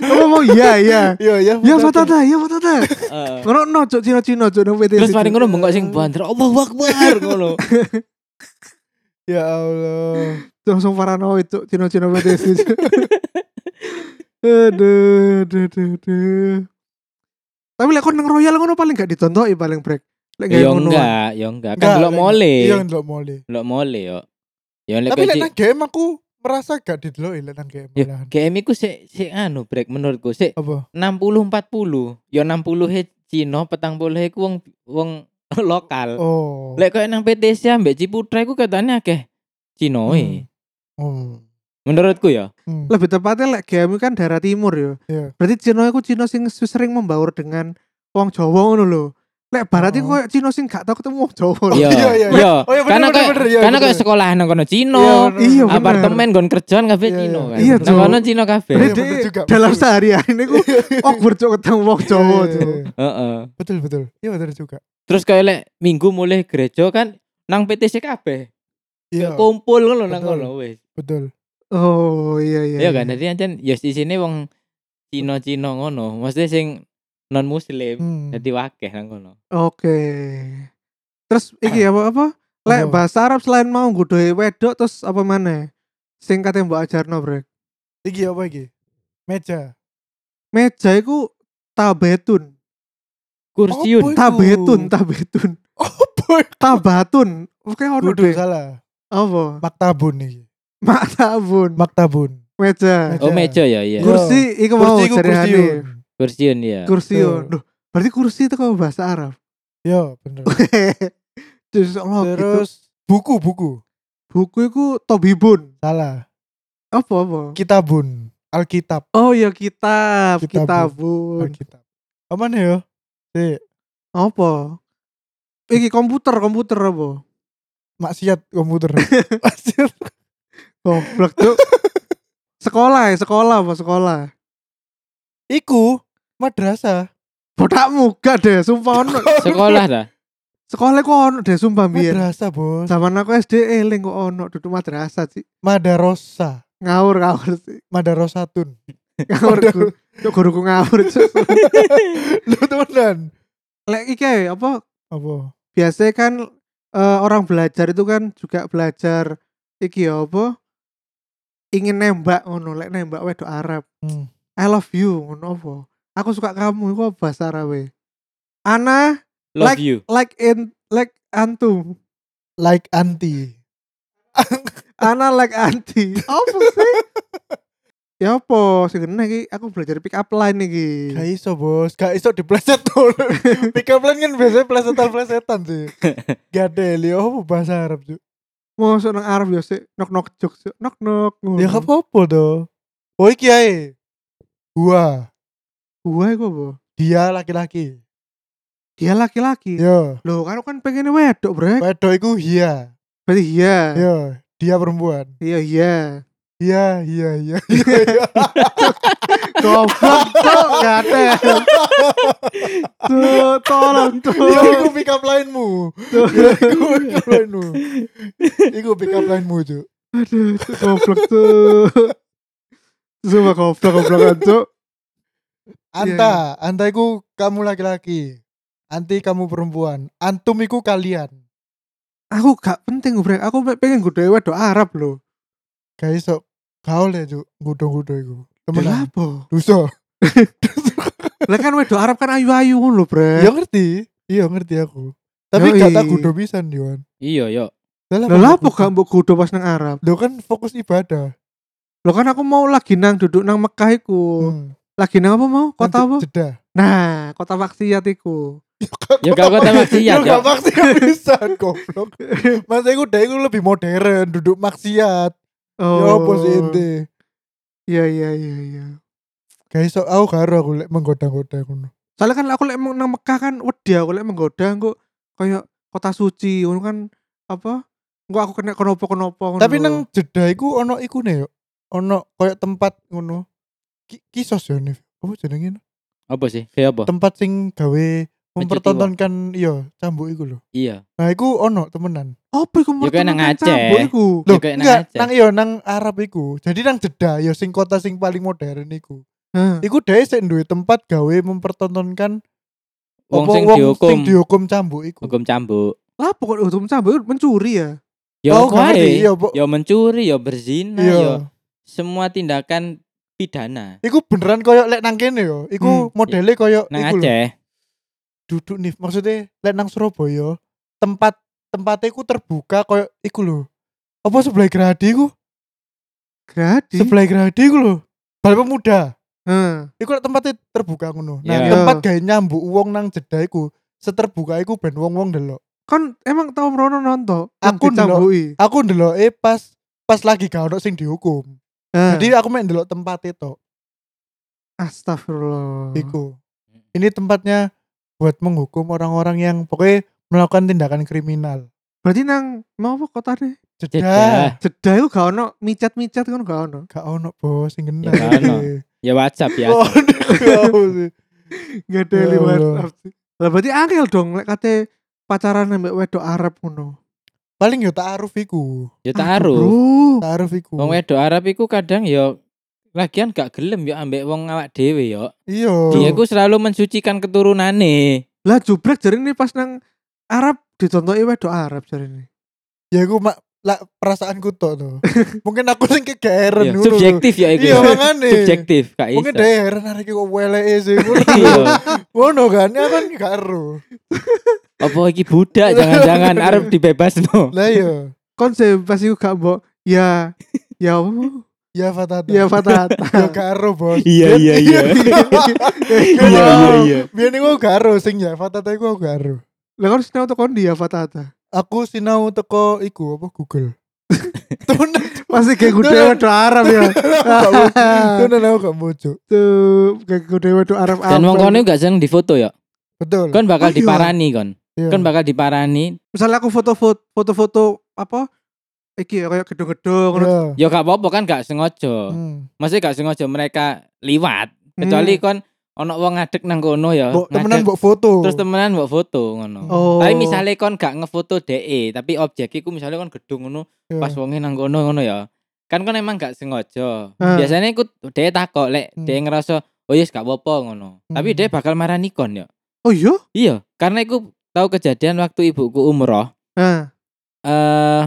Speaker 1: Kamu mau iya, iya.
Speaker 3: Iya, iya.
Speaker 1: Ya
Speaker 3: betul, Cuk.
Speaker 1: fatata, ya fatata.
Speaker 2: Heeh.
Speaker 1: Ngono no cok Cino-cino cok nang
Speaker 3: Iya,
Speaker 1: PTC.
Speaker 2: Terus mari ngono bengkok sing bandar Allahu Akbar
Speaker 3: <laughs>
Speaker 2: ngono.
Speaker 3: Ya Allah.
Speaker 1: langsung paranoid cok Cino-cino PTC. Cuk. aduh, aduh, aduh, aduh. Tapi lek kon nang Royal ngono paling gak ditontoki paling break. Lek gak
Speaker 2: Ya
Speaker 1: ngono.
Speaker 2: enggak, ya enggak.
Speaker 3: Enggak,
Speaker 2: Kan delok
Speaker 3: lek-
Speaker 2: mole.
Speaker 3: Iya, ndelok mole.
Speaker 2: Delok mole yo. Ya lek
Speaker 3: Tapi
Speaker 2: kowe
Speaker 3: lek
Speaker 2: cek-
Speaker 3: nang game aku merasa gak dideloki lek nang game.
Speaker 2: Ya,
Speaker 3: malahan.
Speaker 2: GM iku sik sik anu break menurutku sik
Speaker 3: Apa?
Speaker 2: 60 40. Ya 60 he Cina, petang puluh iku wong wong <laughs> lokal.
Speaker 3: Oh.
Speaker 2: Lek koyo nang PTC ambek Ciputra iku katanya akeh Cina e.
Speaker 3: Hmm.
Speaker 2: Menurutku ya.
Speaker 3: Hmm.
Speaker 1: Lebih tepatnya lek GMI kan daerah timur ya.
Speaker 3: Iya.
Speaker 1: Berarti Cina iku Cina sing sering membaur dengan wong Jawa ngono lho. Lek barat iku
Speaker 3: Oh.
Speaker 1: koyo Cina sing gak tau ketemu wong Jawa.
Speaker 2: Iya.
Speaker 3: iya, iya, iya.
Speaker 2: Iya.
Speaker 3: Oh iya bener,
Speaker 2: Karena kayak-
Speaker 3: bener, iya,
Speaker 2: Karena
Speaker 3: bener.
Speaker 2: koyo sekolah nang kono
Speaker 3: Iya,
Speaker 2: Cina,
Speaker 3: bener.
Speaker 1: Iya, bener.
Speaker 2: apartemen kon kerjaan kabeh
Speaker 3: Iya,
Speaker 2: Cina kan.
Speaker 1: iya,
Speaker 2: Nang
Speaker 1: Cuk.
Speaker 2: kono Cina kabeh.
Speaker 1: Berarti
Speaker 3: Iya, bener
Speaker 1: dia
Speaker 3: juga,
Speaker 1: dalam
Speaker 3: betul.
Speaker 1: sehari-hari ini
Speaker 3: <laughs>
Speaker 1: ku awkward cok ketemu wong Jawa
Speaker 3: Iya,
Speaker 1: cok.
Speaker 3: iya, iya.
Speaker 2: Heeh.
Speaker 3: Betul betul. Iya betul juga.
Speaker 2: Terus koyo lek minggu mulai gereja kan nang PTC kabeh.
Speaker 3: Iya.
Speaker 2: Kumpul ngono nang
Speaker 3: Betul.
Speaker 2: kono wis.
Speaker 3: Betul.
Speaker 1: Oh iya iya.
Speaker 2: Iya kan, jadi ancen ya isine wong Cina-Cina ngono, maksudnya sing non muslim
Speaker 3: Hmm.
Speaker 2: jadi wakeh nang kono.
Speaker 1: Oke. Terus iki apa apa? Lek
Speaker 3: Apa?
Speaker 1: bahasa Arab selain mau nggodoi wedok terus apa mana? Sing kate mbok ajarno, Brek.
Speaker 3: Iki apa iki? <laughs> Meja.
Speaker 1: Meja iku tabetun.
Speaker 3: Kursiun.
Speaker 2: Kursiun.
Speaker 3: Apa?
Speaker 1: Tabetun, tabetun.
Speaker 3: Oh boy.
Speaker 1: Tabatun. Oke ono
Speaker 3: Kudu
Speaker 1: deh.
Speaker 3: salah.
Speaker 1: Apa?
Speaker 3: Maktabun iki.
Speaker 1: Mak tabun.
Speaker 3: Maktabun.
Speaker 1: Meja.
Speaker 2: Oh meja ya, iya.
Speaker 3: Kur-
Speaker 1: Kursi iku mau
Speaker 3: Kursi ku
Speaker 1: jarane.
Speaker 3: kursiun.
Speaker 2: Kursiun ya.
Speaker 1: Kursiun.
Speaker 3: Betul.
Speaker 1: Duh, berarti kursi itu kalau bahasa Arab. <laughs>
Speaker 3: Yo, <laughs> bener.
Speaker 1: Terus Allah gitu.
Speaker 3: Terus buku buku.
Speaker 1: Buku iku tobibun.
Speaker 3: Salah.
Speaker 1: Apa apa?
Speaker 3: Kitabun. Alkitab.
Speaker 1: Oh ya kitab,
Speaker 3: Kitabun.
Speaker 1: kitabun.
Speaker 3: Alkitab. Apa nih yo? Si
Speaker 1: Apa? Iki komputer, komputer apa?
Speaker 3: maksiat <laughs> komputer. maksiat.
Speaker 1: <laughs> Goblok tuh. sekolah ya, sekolah apa sekolah?
Speaker 3: Iku madrasah.
Speaker 1: Bodakmu gak deh, sumpah ono.
Speaker 2: Sekolah
Speaker 3: <laughs>
Speaker 2: dah.
Speaker 1: Sekolah ku ono deh, sumpah biyen.
Speaker 3: Madrasah, Bos.
Speaker 1: Zaman aku SD eling kok ono duduk madrasah sih.
Speaker 3: Madarosa.
Speaker 1: Ngawur ngawur sih.
Speaker 3: Madarosatun.
Speaker 1: Ngawur guru. Cuk, guruku ngawur. Cuk.
Speaker 3: Lu temenan.
Speaker 1: Lek iki ae, apa
Speaker 3: Apa?
Speaker 1: biasanya kan eh, orang belajar itu kan juga belajar iki ya apa ingin nembak ngono lek nembak wedok Arab
Speaker 3: Hmm.
Speaker 1: I love you ngono apa aku suka kamu iku apa bahasa Arab e Ana
Speaker 2: Love
Speaker 1: Like-
Speaker 2: you.
Speaker 1: like in like antum
Speaker 3: Like anti.
Speaker 1: Ana like anti apa sih ya apa sing ngene iki aku belajar pick up line iki
Speaker 3: Gak iso bos, gak iso dipleset tuh. Pick up line kan biasanya plesetan plesetan sih. Gak ada li, oh bahasa Arab tuh.
Speaker 1: mau nang Arab ya sih nok nok jok nok nok
Speaker 3: Ya gak apa-apa toh. Oh iki ae. Gua,
Speaker 1: gue gue bo
Speaker 3: dia laki-laki.
Speaker 1: dia laki-laki
Speaker 3: Yo,
Speaker 1: loh kan kan pengen wedok brek
Speaker 3: wedok iku hia.
Speaker 1: berarti iya
Speaker 3: Yo, dia perempuan.
Speaker 1: iya iya
Speaker 3: Iya, iya, iya.
Speaker 1: goblok tuh gak ada tuh tolong
Speaker 3: <laughs> Yo,
Speaker 1: tuh
Speaker 3: iku pick up line-mu.
Speaker 1: tuh
Speaker 3: Yo, iku pick up line-mu. Iku pick up line-mu, Cuk.
Speaker 1: aduh tuh goblok tuh Cuma goblok goblokan tuh
Speaker 3: Anta, anta iku kamu laki-laki. Anti kamu perempuan. Antum iku kalian.
Speaker 1: aku gak penting brek aku pe- pengen gue wedok Arab loh
Speaker 3: Gak iso gaul ya, Cuk. Gudo-gudo iku.
Speaker 1: Ya Lah
Speaker 3: Temenan.
Speaker 1: apa?
Speaker 3: Duso.
Speaker 1: Lah kan wedok Arab kan ayu-ayu ngono lho,
Speaker 3: Ya
Speaker 1: Brek.
Speaker 3: ngerti. Iya, ngerti aku.
Speaker 1: Yoi.
Speaker 3: Tapi gak tak gudo pisan, Yohan.
Speaker 2: Iya, yo.
Speaker 1: Lah lah apa gak mbok kudu pas nang Arab?
Speaker 3: Lo kan fokus ibadah.
Speaker 1: Loh kan aku mau lagi nang duduk nang Mekah iku.
Speaker 3: Hmm.
Speaker 1: Lagi nang apa mau? Kota
Speaker 3: Kan
Speaker 1: apa?
Speaker 3: Jeddah.
Speaker 1: Nah, kota maksiat iku.
Speaker 2: Ya gak
Speaker 3: <laughs>
Speaker 2: kota maksiat,
Speaker 3: Yo
Speaker 2: yo.
Speaker 3: gak maksiat pisan <laughs> goblok. Mas iku dhek iku lebih modern, duduk maksiat.
Speaker 1: Oh.
Speaker 3: Yo opo Ya, sih ente?
Speaker 1: Iya iya iya iya.
Speaker 3: Gak iso aku karo aku lek menggoda-goda ngono.
Speaker 1: Soalnya kan aku lek mau nang Mekah kan wedi aku lek menggoda engko kayak kota suci ngono kan apa? Engko aku kena kenapa-kenapa ngono.
Speaker 3: Tapi
Speaker 1: lho.
Speaker 3: nang jeda iku ono iku ne yo. Ono koyo tempat ngono. Ki- Kisos yo nih. Apa jenenge?
Speaker 2: Apa sih? Kayak apa?
Speaker 3: Tempat sing gawe mempertontonkan iya cambuk iku lho.
Speaker 2: Iya.
Speaker 3: Nah iku ono temenan.
Speaker 1: apa iku
Speaker 2: Ya kayak nang
Speaker 1: pertemuan
Speaker 2: Aceh.
Speaker 1: cabul iku?
Speaker 2: Ya
Speaker 3: Loh,
Speaker 2: kayak nang
Speaker 3: enggak,
Speaker 2: Aceh.
Speaker 3: nang iya nang Arab iku. Jadi nang jeda yo sing kota sing paling modern iku.
Speaker 1: Hah.
Speaker 3: Iku dhewe sik duwe tempat gawe mempertontonkan
Speaker 2: Wong
Speaker 3: apa
Speaker 2: sing
Speaker 3: sing
Speaker 2: dihukum,
Speaker 3: dihukum cambuk iku.
Speaker 2: hukum cambuk.
Speaker 1: Lah pokok hukum cabul mencuri ya.
Speaker 2: Yo
Speaker 3: Oh, gak ngerti.
Speaker 2: wae.
Speaker 3: Iya, po-
Speaker 2: Yo mencuri, yo berzina,
Speaker 3: Iya.
Speaker 2: yo semua tindakan pidana.
Speaker 3: Iku beneran koyo lek nang kene yo. Iku modele koyo
Speaker 2: Hmm,
Speaker 3: iku lho.
Speaker 2: Nang Aceh.
Speaker 3: Duduk nih maksudnya lek nang Surabaya tempat tempatnya iku terbuka koyo iku lho. Apa sebelah Gradi iku?
Speaker 1: Gradi.
Speaker 3: Sebelah Gradi iku lho. Bal pemuda.
Speaker 1: Heeh.
Speaker 3: Iku lek tempatnya terbuka ngono. Nah,
Speaker 2: Iya.
Speaker 3: tempat gawe nyambuk wong nang jeda iku seterbuka iku ben wong-wong delok.
Speaker 1: Kan emang tau merono nonton.
Speaker 3: Aku
Speaker 1: dicambui.
Speaker 3: Aku ndeloke pas pas lagi gak ono sing dihukum.
Speaker 1: Hah.
Speaker 3: Jadi aku main delok tempat itu,
Speaker 1: Astagfirullah.
Speaker 3: iku. Ini tempatnya buat menghukum orang-orang yang pokoknya melakukan tindakan kriminal.
Speaker 1: Berarti nang mau apa kota deh?
Speaker 3: Jeda,
Speaker 1: Jeddah itu gak ono micat-micat kan gak ono.
Speaker 3: gak ono bos sing kena.
Speaker 2: Ya, gak
Speaker 3: <laughs>
Speaker 2: ono. Ya WhatsApp ya.
Speaker 3: Oh, aduh, sih.
Speaker 1: Gak ada
Speaker 3: Ya
Speaker 1: lewat.
Speaker 3: Allah.
Speaker 1: Lah berarti angel dong lek kate pacaran ambek wedok Arab ngono.
Speaker 3: Paling yo ta'aruf iku,
Speaker 2: Ya
Speaker 1: Aduh,
Speaker 2: taruh.
Speaker 1: bro.
Speaker 3: ta'aruf iku.
Speaker 2: Wong wedok Arab iku kadang yo lagian gak gelem yo ambek wong awak dhewe yo.
Speaker 3: Iya.
Speaker 2: Dia iku selalu mensucikan keturunane.
Speaker 1: Lah jubrek jari ini pas nang Arab ditontoki wedok Arab jari ini.
Speaker 3: Ya aku mak lah perasaanku tok
Speaker 2: <laughs>
Speaker 3: to. Mungkin aku sing
Speaker 2: Yo,
Speaker 3: kegeeran ngono.
Speaker 2: Subjektif ya iku.
Speaker 3: Iya,
Speaker 2: yo.
Speaker 3: makane.
Speaker 2: Subjektif gak
Speaker 3: Mungkin
Speaker 2: iso.
Speaker 3: deh heran arek kok weleke sih.
Speaker 2: Iya.
Speaker 3: Ngono kan, ya kan gak ero.
Speaker 2: Apa iki budak jangan-jangan Arab dibebasno.
Speaker 3: Lah iya.
Speaker 1: Konsep pas iku gak mbok ya ya apa?
Speaker 3: Ya fatata.
Speaker 1: ya fatah.
Speaker 3: Yo gak ero, bos.
Speaker 2: Iya iya iya.
Speaker 3: Iya,
Speaker 2: Iya iya iya.
Speaker 3: Biar aku garo sing ya, fatata aku aku garo.
Speaker 1: <laughs> Lah kan sinau tuh kondi ya fatah.
Speaker 3: Aku sinau teko iku apa Google. Temen
Speaker 1: Masih kayak gede
Speaker 3: Tuh.
Speaker 1: wedok Arab ya.
Speaker 3: kan temen aku gak muncul.
Speaker 1: Tuh kayak gede wedok Arab.
Speaker 2: Dan wong
Speaker 1: apa.
Speaker 2: kono gak seneng difoto ya.
Speaker 3: Betul.
Speaker 2: Kon bakal
Speaker 1: Oh, iya.
Speaker 2: diparani kon.
Speaker 3: Iya.
Speaker 2: Kon bakal diparani.
Speaker 1: misalnya aku foto-foto foto-foto apa iki ya kayak gedung-gedung ngono.
Speaker 3: Iya.
Speaker 2: Yo gak apa-apa kan gak sengaja.
Speaker 3: Hmm.
Speaker 2: Maksudnya gak sengaja mereka liwat. Iya, Kecuali kon ono wong ngadeg nang kono ya.
Speaker 3: Mbok temenan
Speaker 2: ngadeg.
Speaker 3: mbok foto.
Speaker 2: Terus temenan mbok foto ngono.
Speaker 1: oh
Speaker 2: Tapi misalnya kon gak ngefoto DE, tapi objek iku misalnya kon gedung ngono,
Speaker 1: Hmm.
Speaker 3: Iya.
Speaker 2: pas wonge nang kono ngono ya. Kan kon emang gak sengaja.
Speaker 1: Hmm.
Speaker 2: Biasanya iku DE takok lek
Speaker 3: Hmm.
Speaker 2: DE ngerasa oh yes gak apa-apa ngono. Tapi
Speaker 3: Hmm.
Speaker 2: DE bakal marani kon ya.
Speaker 1: oh iya
Speaker 2: Iya, karena iku tahu kejadian waktu ibuku umroh.
Speaker 1: nah
Speaker 2: Eh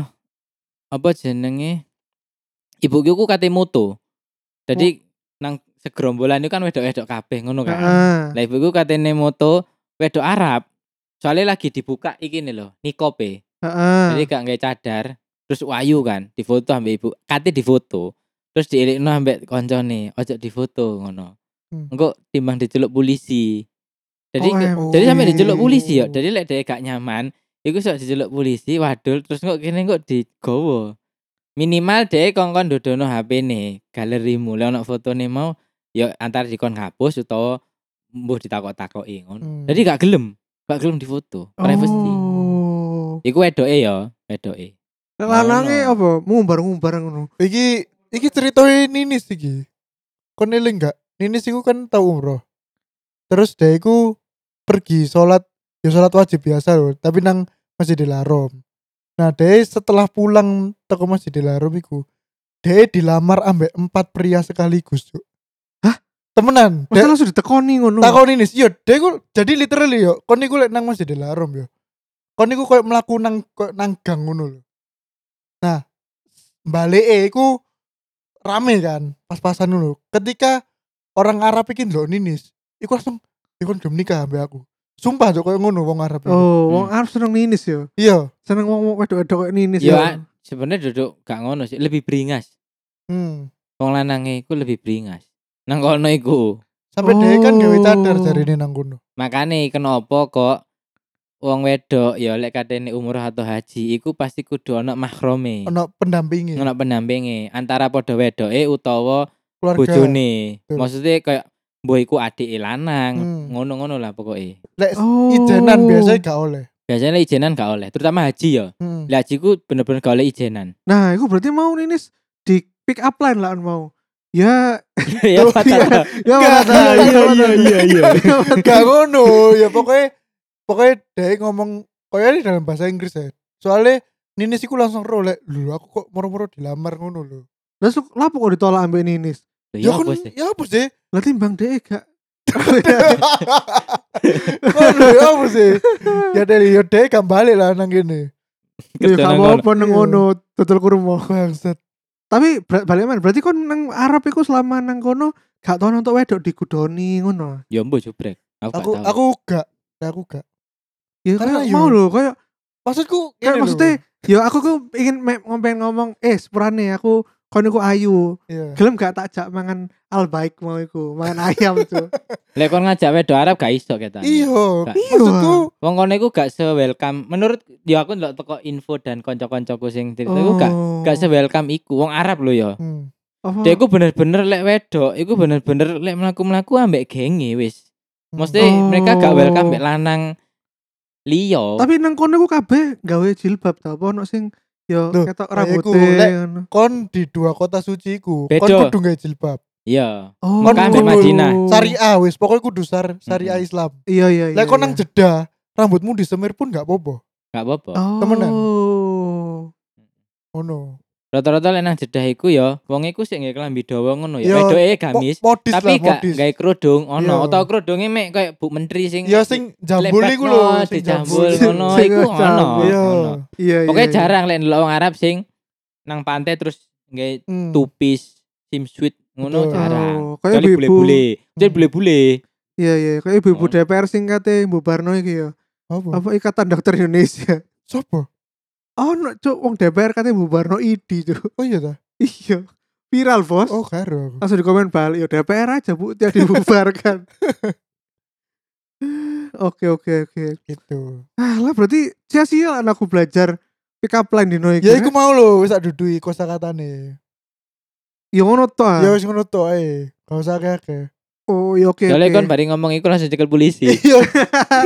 Speaker 2: apa jenenge? Ibuku ku kate moto. Jadi nang segerombolan itu kan wedok-wedok kabeh ngono kan.
Speaker 1: Oh. heeh.
Speaker 2: Lah ibuku katene moto wedok Arab. Soalnya lagi dibuka iki nih loh, nikope.
Speaker 1: heeh.
Speaker 2: Jadi gak nggak cadar. Terus wayu kan, difoto ambil ibu. Kate difoto. Terus diilikno ambek koncone, ojo difoto ngono.
Speaker 3: Hmm.
Speaker 2: Engko timbang diceluk polisi. Jadi
Speaker 1: Oh,
Speaker 2: nggak-
Speaker 1: emang.
Speaker 2: jadi sampai diceluk polisi ya. Jadi lek dhek gak nyaman, iku sok dijeluk polisi wadul terus kok kene kok digowo minimal deh kongkon dodono HP ne galerimu lek ono fotone mau ya antar dikon hapus utawa mbuh ditakok-takoki ngono
Speaker 3: Hmm.
Speaker 2: jadi gak gelem gak gelem difoto privacy
Speaker 3: Oh.
Speaker 2: iku wedoke ya wedoke
Speaker 1: Nek lanange
Speaker 2: Ngono.
Speaker 1: apa? Ngumbar-ngumbar ngono.
Speaker 3: Iki iki ceritanya Ninis iki. Kon eling gak? Ninis iku kan tau umroh. Terus dia iku pergi sholat ya sholat wajib biasa loh, tapi nang Masjidil Haram. Nah, dia setelah pulang teko Masjidil Haram iku, dia dilamar ambek empat pria sekaligus, Cuk.
Speaker 1: Hah?
Speaker 3: Temenan.
Speaker 1: Masa
Speaker 3: Dek-
Speaker 1: langsung ditekoni ngono.
Speaker 3: takon ini yo dek ku jadi literally yo kon niku lek nang Masjidil Haram yo kon niku koyo mlaku nang koyo nang gang ngono lho nah balike iku rame kan pas-pasan ngono ketika orang Arab iki ndelok Ninis iku langsung ikon belum nikah ambek aku sumpah yo koyo ngono wong Arab iku.
Speaker 1: Oh, wong Arab seneng ninis yo.
Speaker 3: iya
Speaker 1: Seneng wong wong wedok-wedok kayak ninis ya?
Speaker 2: Yo, ah, sebenarnya duduk gak ngono sih, lebih beringas.
Speaker 3: hmm.
Speaker 2: Wong lanange iku lebih beringas. Nang kono iku.
Speaker 3: sampai dek kan gawe cadar
Speaker 1: Oh.
Speaker 3: jarine nang kono
Speaker 2: Makane kenapa kok wong wedok ya lek katene umroh atau haji iku pasti kudu ana mahrome.
Speaker 3: ono pendampingi
Speaker 2: Oh. Ono pendampinge antara padha wedoke utawa
Speaker 3: keluarga
Speaker 2: bojone.
Speaker 3: Betul.
Speaker 2: Maksudnya kayak mbuh iku adike lanang,
Speaker 3: Hmm.
Speaker 2: ngono-ngono lah pokoke.
Speaker 3: lek
Speaker 1: Oh.
Speaker 3: ijenan biasanya gak oleh
Speaker 2: Biasanya ijenan gak oleh, terutama haji ya.
Speaker 3: hmm.
Speaker 2: Lah haji ku bener-bener gak oleh
Speaker 3: <laughs>
Speaker 2: ijenan.
Speaker 1: Nah, iku berarti mau ninis di pick up line lah mau. Ya,
Speaker 2: ya
Speaker 3: Tuh, iya.
Speaker 2: patah.
Speaker 1: ya
Speaker 3: Gak,
Speaker 1: mana tahu,
Speaker 3: iya,
Speaker 1: mana
Speaker 3: iya,
Speaker 1: tahu.
Speaker 3: iya, gak ngono ya pokoknya pokoknya dia ngomong pokoknya ini dalam bahasa Inggris ya soalnya Ninis iku langsung rolek lho aku kok moro-moro dilamar ngono lho
Speaker 1: Terus lu lapo kok ditolak ambek ninis?
Speaker 2: Ya
Speaker 3: kon-
Speaker 2: apa sih?
Speaker 3: ya apa sih
Speaker 1: Lah timbang dhek gak.
Speaker 3: Ngono, ya apa sih ya dari ya dia gak balik lah nang gini
Speaker 1: Ya gak
Speaker 2: Kedonan kono.
Speaker 1: apa-apa
Speaker 3: Iya.
Speaker 1: nang ngono, tutul kurma.
Speaker 3: bangsat
Speaker 1: Tapi ber- balik mana? Berarti kon nang Arab iku selama nang kono gak tau nonton wedok digudoni ngono.
Speaker 2: Ya mbuh jubrek. Aku, gak
Speaker 3: aku
Speaker 2: tahu.
Speaker 3: aku gak aku gak
Speaker 1: Ya
Speaker 3: Karena
Speaker 1: kayak
Speaker 3: yo-
Speaker 1: mau lho, kayak
Speaker 3: maksudku
Speaker 1: kayak
Speaker 3: gini lho. Iya.
Speaker 1: maksudnya ya aku ku ingin me- ngomong ngomong eh sepurane aku kon iku ayu.
Speaker 3: Iya.
Speaker 1: Gelem gak tak jak mangan albaik mau iku, mangan ayam
Speaker 2: <laughs>
Speaker 1: tuh.
Speaker 2: Lek kon ngajak wedok Arab gak iso ketane.
Speaker 3: iya
Speaker 2: Gak.
Speaker 3: maksudku
Speaker 2: Wong kono iku gak se-welcome. Menurut ya aku ndelok teko info dan kanca-kancaku
Speaker 1: Oh.
Speaker 2: sing cerita iku gak
Speaker 3: Oh.
Speaker 2: gak se-welcome iku. Wong Arab lho ya.
Speaker 3: Hmm.
Speaker 1: Apa?
Speaker 2: Dia iku bener-bener lek wedok, iku bener-bener lek mlaku-mlaku ambek genge wis. Mesti
Speaker 1: Oh.
Speaker 2: mereka gak welcome ambek lanang liya.
Speaker 1: Tapi nang kono ku kabeh gawe jilbab ta apa ono sing yo
Speaker 3: Loh,
Speaker 1: ketok
Speaker 3: lah iku,
Speaker 1: rambutnya
Speaker 3: lek-
Speaker 1: ngono.
Speaker 3: kon di dua kota suci iku kon
Speaker 2: Bedo.
Speaker 3: kudu gak jilbab
Speaker 2: Iya.
Speaker 1: Oh,
Speaker 2: Mekah
Speaker 3: ambek
Speaker 2: Madinah.
Speaker 3: syariah wis pokoknya kudu sar
Speaker 2: Hmm,
Speaker 3: syariah
Speaker 2: Mm-mm.
Speaker 3: Islam
Speaker 1: Iya iya iya.
Speaker 3: Lek kon
Speaker 1: iya.
Speaker 3: nang jeda, rambutmu disemir pun gak apa-apa.
Speaker 2: Gak apa-apa.
Speaker 1: Oh.
Speaker 3: temenan. Ngono.
Speaker 2: Rata-rata lek nang jedah iku ya, wong iku sik nggae kelambi dawa ngono ya.
Speaker 3: Iya,
Speaker 2: Wedoke
Speaker 3: Mo-
Speaker 2: gamis,
Speaker 3: Modis
Speaker 2: tapi
Speaker 3: lah,
Speaker 2: gak
Speaker 3: modis.
Speaker 2: gawe kerudung
Speaker 3: Iya.
Speaker 2: ono utawa kerudunge mek kayak Bu Menteri sing
Speaker 3: Ya sing jambul
Speaker 2: Lebat
Speaker 3: iku
Speaker 2: no,
Speaker 3: lho, sing
Speaker 2: dijambul
Speaker 1: jambul.
Speaker 2: ngono
Speaker 1: Sing
Speaker 2: iku ono.
Speaker 1: jambul.
Speaker 3: Iya.
Speaker 2: ono.
Speaker 1: Iya iya.
Speaker 2: Pokoknya
Speaker 1: iya.
Speaker 2: jarang lek ndelok wong Arab sing nang pantai terus nggae
Speaker 3: Hmm.
Speaker 2: tupis, sim sweet
Speaker 3: Betul.
Speaker 2: ngono
Speaker 3: Hmm.
Speaker 2: jarang.
Speaker 1: Oh, kayak
Speaker 2: Kecuali
Speaker 1: ibu-ibu.
Speaker 2: bule-bule. Kecuali bule-bule.
Speaker 1: Iya iya, kayak ibu-ibu
Speaker 2: Oh.
Speaker 1: DPR sing kate Mbok Barno iki
Speaker 3: Oh.
Speaker 1: ya.
Speaker 3: Apa?
Speaker 1: Apa Ikatan Dokter Indonesia? <laughs>
Speaker 3: Sopo?
Speaker 1: Oh, no, cuk, wong DPR kate Mbok Barno ID, cuk. <laughs>
Speaker 3: Oh iya ta.
Speaker 1: Iya. Viral, Bos.
Speaker 3: Oh karo aku.
Speaker 1: Langsung di komen balik, ya DPR aja Bu, dia dibubarkan.
Speaker 3: <laughs>
Speaker 1: Oke oke oke.
Speaker 3: Gitu.
Speaker 1: Ah lah berarti sia-sia lah aku belajar pick up line dino iki. eh.
Speaker 3: Ya iku mau lho wis tak dudui kosakatane.
Speaker 1: ya ngono to. ah.
Speaker 3: Ya wis ngono tok ae. Gak usah akeh-akeh. <laughs>
Speaker 1: Oh ya oke.
Speaker 2: Soale
Speaker 1: oke.
Speaker 2: kon bari ngomong iku langsung cekel polisi.
Speaker 3: Iya.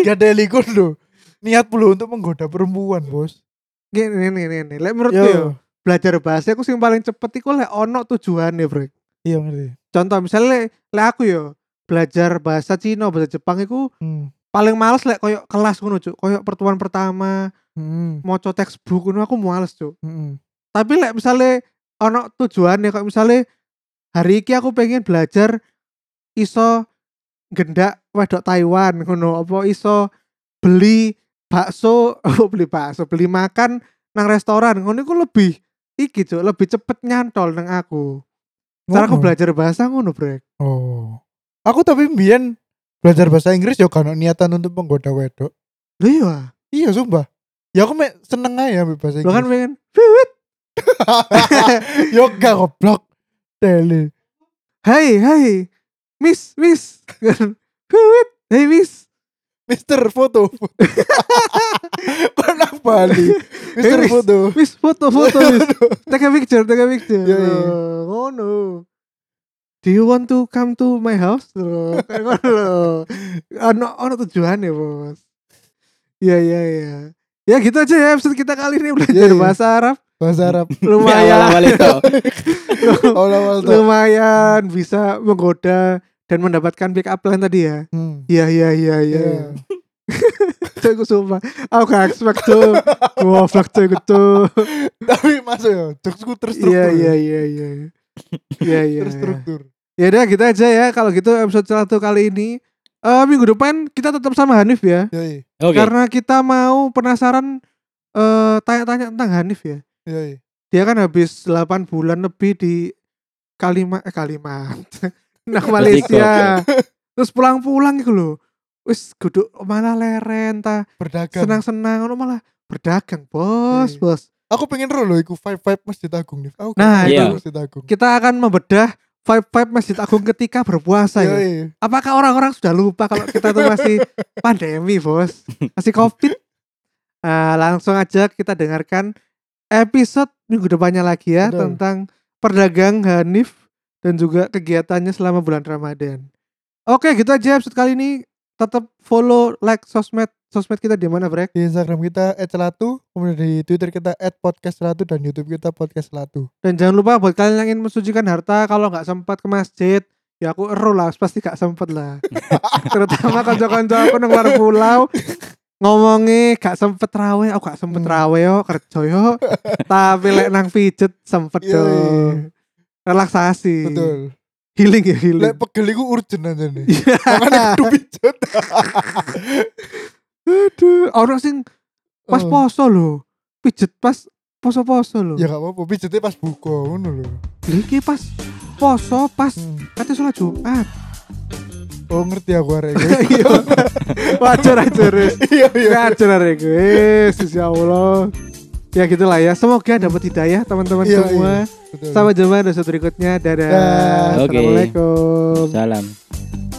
Speaker 3: Gak ada likur lho. Niat pula untuk menggoda perempuan, Bos. Iya.
Speaker 1: Gini gini gini. Lek menurutku ya,
Speaker 3: Yo.
Speaker 1: belajar bahasa aku sing paling cepet iku lek ono tujuannya, Bro.
Speaker 3: Iya ngerti.
Speaker 1: Contoh misalnya lek lek aku yo belajar bahasa Cina, bahasa Jepang iku
Speaker 3: Hmm.
Speaker 1: paling males lek koyo kelas ngono, Cuk. Koyo pertemuan pertama,
Speaker 3: Hmm.
Speaker 1: maca textbook ngono aku males, Cuk.
Speaker 3: Hmm.
Speaker 1: Tapi lek misalnya ono tujuannya kok misalnya hari iki aku pengen belajar iso gendak wedok Taiwan ngono apa iso beli bakso <laughs> apa beli bakso beli makan nang restoran ngono iku lebih iki cuk lebih cepet nyantol nang aku cara aku
Speaker 3: Ngono.
Speaker 1: belajar bahasa ngono brek
Speaker 3: Oh. Aku tapi mbiyen belajar bahasa Inggris ya kan niatan untuk menggoda wedok.
Speaker 1: lho iya
Speaker 3: Iya sumpah. Ya aku mek seneng aja ambil bahasa
Speaker 1: lo kan
Speaker 3: Inggris.
Speaker 1: pengen <laughs> "Wiwit,
Speaker 3: <laughs> Yo gak goblok. Tele.
Speaker 1: <laughs> hai hai miss miss Wiwit, hai miss
Speaker 3: Mister foto. <laughs> Kon nang Bali. Mister
Speaker 1: Eh, wis.
Speaker 3: foto.
Speaker 1: Wis
Speaker 3: <laughs>
Speaker 1: foto-foto wis. Take a picture, take a picture.
Speaker 3: Yoi.
Speaker 1: Loh, Ngono. Do you want to come to my house?
Speaker 3: <laughs>
Speaker 1: Loh, kayak Ngono. loh. Ono ono tujuan ya, Bos. Iya, iya, iya. Ya gitu aja ya episode kita kali ini belajar
Speaker 3: Yoi.
Speaker 1: bahasa
Speaker 3: <laughs>
Speaker 1: Arab.
Speaker 3: Bahasa
Speaker 1: <laughs>
Speaker 3: Arab.
Speaker 1: Lumayan,
Speaker 2: awal
Speaker 3: <laughs>
Speaker 2: itu.
Speaker 3: Ya, Awal-awal tuh.
Speaker 1: lumayan bisa menggoda dan mendapatkan pick up line tadi ya.
Speaker 3: Hmm.
Speaker 1: Iya, iya, iya, iya.
Speaker 3: Iya. <laughs>
Speaker 1: Tuh, Aku sumpah. Aku gak expect
Speaker 3: <laughs>
Speaker 1: tuh. Goblok tuh gitu.
Speaker 3: Tapi masuk ya, jokesku terstruktur.
Speaker 1: Iya, iya, iya, iya. Iya, iya. iya.
Speaker 3: Terstruktur.
Speaker 1: Ya udah gitu aja ya kalau gitu episode satu kali ini. Eh minggu depan kita tetap sama Hanif ya.
Speaker 3: Yoi.
Speaker 2: Oke.
Speaker 1: Karena kita mau penasaran eh tanya-tanya tentang Hanif ya.
Speaker 3: Yoi.
Speaker 1: Dia kan habis 8 bulan lebih di Kalimat eh Kalimantan. <laughs> Nah, Malaysia. Terus pulang-pulang gitu loh. Wis duduk malah leren ta.
Speaker 3: Berdagang.
Speaker 1: Senang-senang ono malah berdagang, Bos,
Speaker 3: Iya.
Speaker 1: Bos.
Speaker 3: Aku pengen roh loh iku vibe-vibe Masjid Agung nih. Aku
Speaker 1: Nah,
Speaker 3: kangen
Speaker 2: iya.
Speaker 3: banget Masjid Agung.
Speaker 1: Kita akan membedah vibe-vibe Masjid Agung ketika berpuasa ya.
Speaker 3: Yoi.
Speaker 1: Apakah orang-orang sudah lupa kalau kita tuh masih pandemi, Bos? Masih Covid. Nah, langsung aja kita dengarkan episode minggu depannya lagi ya
Speaker 3: Betul.
Speaker 1: tentang perdagang Hanif dan juga kegiatannya selama bulan Ramadan. Oke, gitu aja episode kali ini. Tetap follow, like sosmed sosmed kita di mana, Brek?
Speaker 3: Di Instagram kita @celatu, kemudian di Twitter kita @podcastcelatu dan YouTube kita podcastcelatu.
Speaker 1: Dan jangan lupa buat kalian yang ingin mensucikan harta kalau nggak sempat ke masjid, ya aku eru lah, pasti nggak sempat lah.
Speaker 3: <laughs>
Speaker 1: Terutama kanca-kanca aku nang luar pulau ngomongi gak sempet rawe, aku gak sempet
Speaker 3: Hmm.
Speaker 1: rawe yo kerja yo. Tapi lek nang pijet sempet
Speaker 3: Iya,
Speaker 1: dong. Relaksasi.
Speaker 3: Betul.
Speaker 1: Healing ya healing.
Speaker 3: Lek pegel iku urgent aja nih.
Speaker 1: Iya.
Speaker 3: Makanya kudu pijet.
Speaker 1: Aduh, orang sing pas
Speaker 3: Oh.
Speaker 1: poso lho. Pijet pas poso-poso lho.
Speaker 3: Ya gak apa-apa, pijetnya pas buka ngono lho.
Speaker 1: Lho, Iki pas poso pas
Speaker 3: Hmm.
Speaker 1: katanya sholat Jumat.
Speaker 3: Oh ngerti aku arek.
Speaker 1: <laughs> Iya. Wajar aja Riz.
Speaker 3: Iya iya.
Speaker 1: Wajar arek gue. Ya Allah. Ya gitulah ya. Semoga dapat hidayah teman-teman
Speaker 3: Iya,
Speaker 1: semua.
Speaker 3: Betul.
Speaker 1: Sampai jumpa di episode berikutnya. Dadah.
Speaker 3: Dah.
Speaker 2: Oke.
Speaker 1: Assalamualaikum.
Speaker 2: Salam.